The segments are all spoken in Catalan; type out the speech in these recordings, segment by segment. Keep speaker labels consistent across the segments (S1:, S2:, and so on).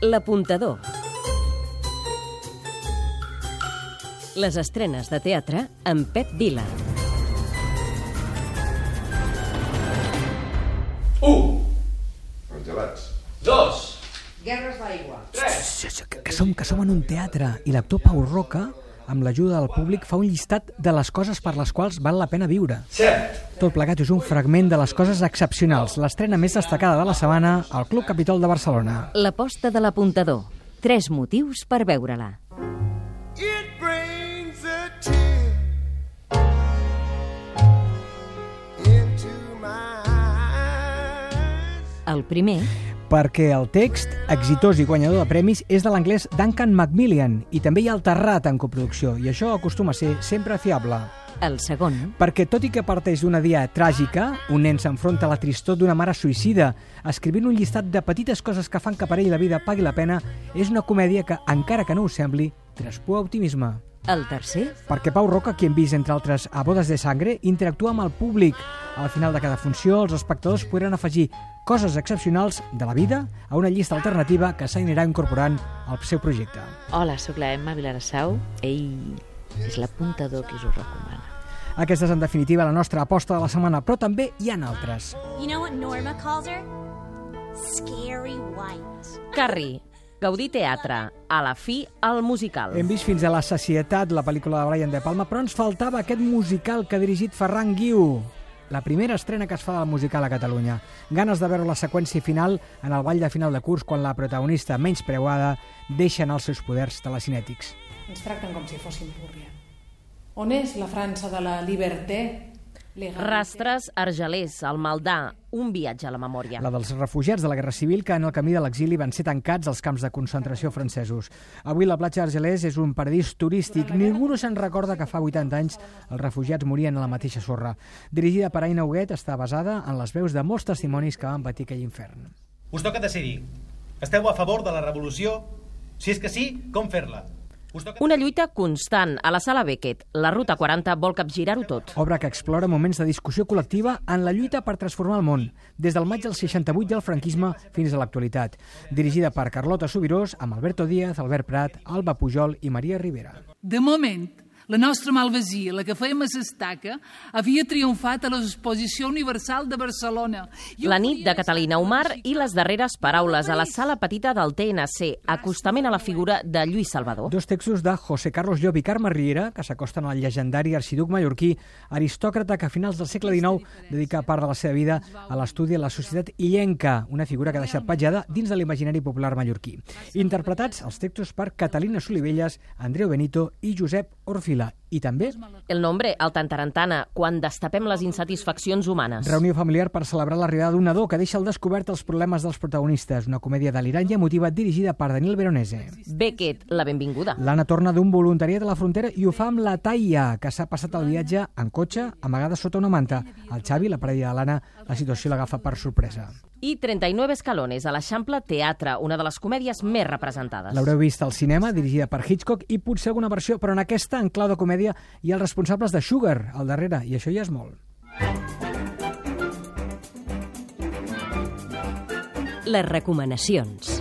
S1: L'apuntador. Les estrenes de teatre amb Pep Vila.
S2: Un,
S3: Els gelats.
S2: dos,
S4: Guerres d'aigua.
S2: tres.
S5: Sí, sí, que- que som, que som en un teatre i l'actor Pau Roca, amb l'ajuda del públic, fa un llistat de les coses per les quals val la pena viure.
S2: Cert.
S5: Tot plegat és un fragment de les coses excepcionals, l'estrena més destacada de la setmana al Club Capitol de Barcelona.
S1: L'aposta de l'apuntador. Tres motius per veure-la.
S6: It brings a tear into my eyes.
S1: El primer,
S5: Perquè el text, exitós i guanyador de premis, és de l'anglès Duncan Macmillan i també hi ha el Terrat en coproducció, i això acostuma a ser sempre fiable.
S1: el segon,
S5: Perquè tot i que parteix d'una dia tràgica, un nen s'enfronta a la tristor d'una mare suïcida, escrivint un llistat de petites coses que fan que per ell la vida pagui la pena, és una comèdia que, encara que no us sembli, traspua optimisme.
S1: el tercer,
S5: Perquè Pau Roca, qui hem vist, entre altres, a Bodes de Sangre, interactua amb el públic. Al final de cada funció, els espectadors podran afegir coses excepcionals de la vida a una llista alternativa que s'anirà incorporant al seu projecte.
S7: Hola, sóc la Emma Vilarassau. Ell és l'apuntador que us ho recomana.
S5: Aquesta és, en definitiva, la nostra aposta de la setmana, però també hi han altres.
S8: You know what Norma calls her? Scary White.
S9: Carri, Gaudí Teatre, a la fi el musical.
S5: Hem vist fins a la Societat, la pel·lícula de Brian De Palma, però ens faltava aquest musical que ha dirigit Ferran Guiu. La primera estrena que es fa del musical a Catalunya. Ganes de veure la seqüència final en el ball de final de curs quan la protagonista menys preuada deixa anar els seus poders telecinètics.
S4: Ens tracten com si fóssim púrria. On és la França de la liberté? Legal.
S9: Rastres, Argelers, el Maldà, un viatge a la memòria.
S5: La dels refugiats de la Guerra Civil que en el camí de l'exili van ser tancats als camps de concentració francesos. Avui la platja d'Argelès és un paradís turístic. Ningú no se'n recorda que fa 80 anys els refugiats morien a la mateixa sorra. Dirigida per Aina Huguet, està basada en les veus de molts testimonis que van patir aquell infern.
S10: Us toca decidir. Esteu a favor de la revolució? Si és que sí, com fer-la? Us toca...
S9: Una lluita constant a la sala Beckett. La Ruta 40 vol capgirar-ho tot.
S5: Obra que explora moments de discussió col·lectiva en la lluita per transformar el món, des del maig del 68 del franquisme fins a l'actualitat. Dirigida per Carlota Subirós, amb Alberto Díaz, Albert Prat, Alba Pujol i Maria Rivera.
S11: De moment, la nostra malvasia, la que fèiem a s'estaca, havia triomfat a l'exposició universal de Barcelona.
S9: La nit de Catalina Omar i les darreres paraules a la sala petita del TNC, acostament a la figura de Lluís Salvador.
S5: Dos textos de José Carlos Llop i Carme Riera, que s'acosten al legendari arxiduc mallorquí, aristòcrata que a finals del segle XIX dedica part de la seva vida a l'estudi de la societat illenca, una figura que ha deixat petjada dins de l'imaginari popular mallorquí. Interpretats els textos per Catalina Solivelles, Andreu Benito i Josep Orfila, i també
S9: El nombre, el Tantarantana, quan destapem les insatisfaccions humanes.
S5: Reunió familiar per celebrar l'arribada d'un nadó que deixa al descobert els problemes dels protagonistes, una comèdia delirant i emotiva dirigida per Daniel Veronese.
S9: Beckett, la benvinguda.
S5: L'Anna torna d'un voluntariat a la frontera i ho fa amb la Taia, que s'ha passat el viatge en cotxe, amagada sota una manta. El Xavi, la parella de l'Anna, la situació l'agafa per sorpresa.
S9: I 39 escalones a l'Eixample Teatre, una de les comèdies més representades.
S5: L'haureu vist al cinema, dirigida per Hitchcock, i potser alguna versió, però en aquesta, en clau de comèdia, hi ha els responsables de Sugar, al darrere, i això ja és molt.
S1: les recomanacions.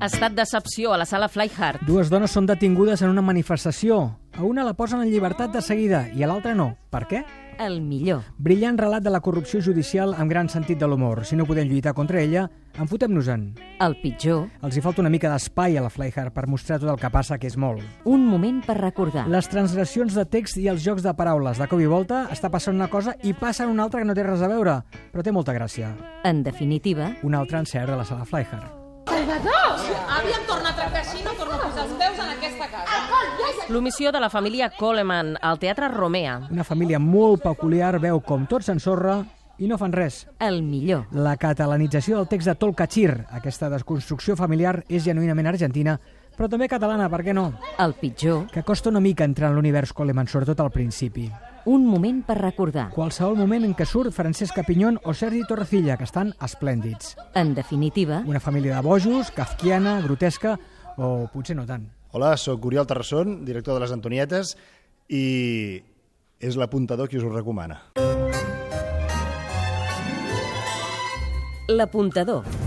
S9: Estat decepció a la sala Flyhard.
S5: Dues dones són detingudes en una manifestació. A una la posen en llibertat de seguida i a l'altra no. Per què?
S1: El millor.
S5: Brillant relat de la corrupció judicial amb gran sentit de l'humor. Si no podem lluitar contra ella, enfotem-nos-en.
S1: El pitjor,
S5: Els hi falta una mica d'espai a la Flyhard per mostrar tot el que passa, que és molt.
S1: un moment per recordar.
S5: Les transgressions de text i els jocs de paraules. De cop i volta està passant una cosa i passa una altra que no té res a veure, però té molta gràcia.
S1: En definitiva,
S5: Un altre encert de la sala Flyhard.
S9: L'omissió de la família Coleman al Teatre Romea.
S5: Una família molt peculiar veu com tot s'ensorra i no fan res.
S1: el millor.
S5: La catalanització del text de Tolcachir, aquesta desconstrucció familiar, és genuïnament argentina, però també catalana, per què no?
S1: El pitjor,
S5: Que costa una mica entrar en l'univers Coleman, sobretot al principi.
S1: un moment per recordar.
S5: Qualsevol moment en què surt Francesc Capinyón o Sergi Torrecilla, que estan esplèndids.
S1: En definitiva,
S5: Una família de bojos, kafkiana, grotesca, o potser no tant.
S3: Hola, sóc Oriol Terrasson, director de les Antonietes, i és l'apuntador qui us ho recomana.
S9: L'apuntador.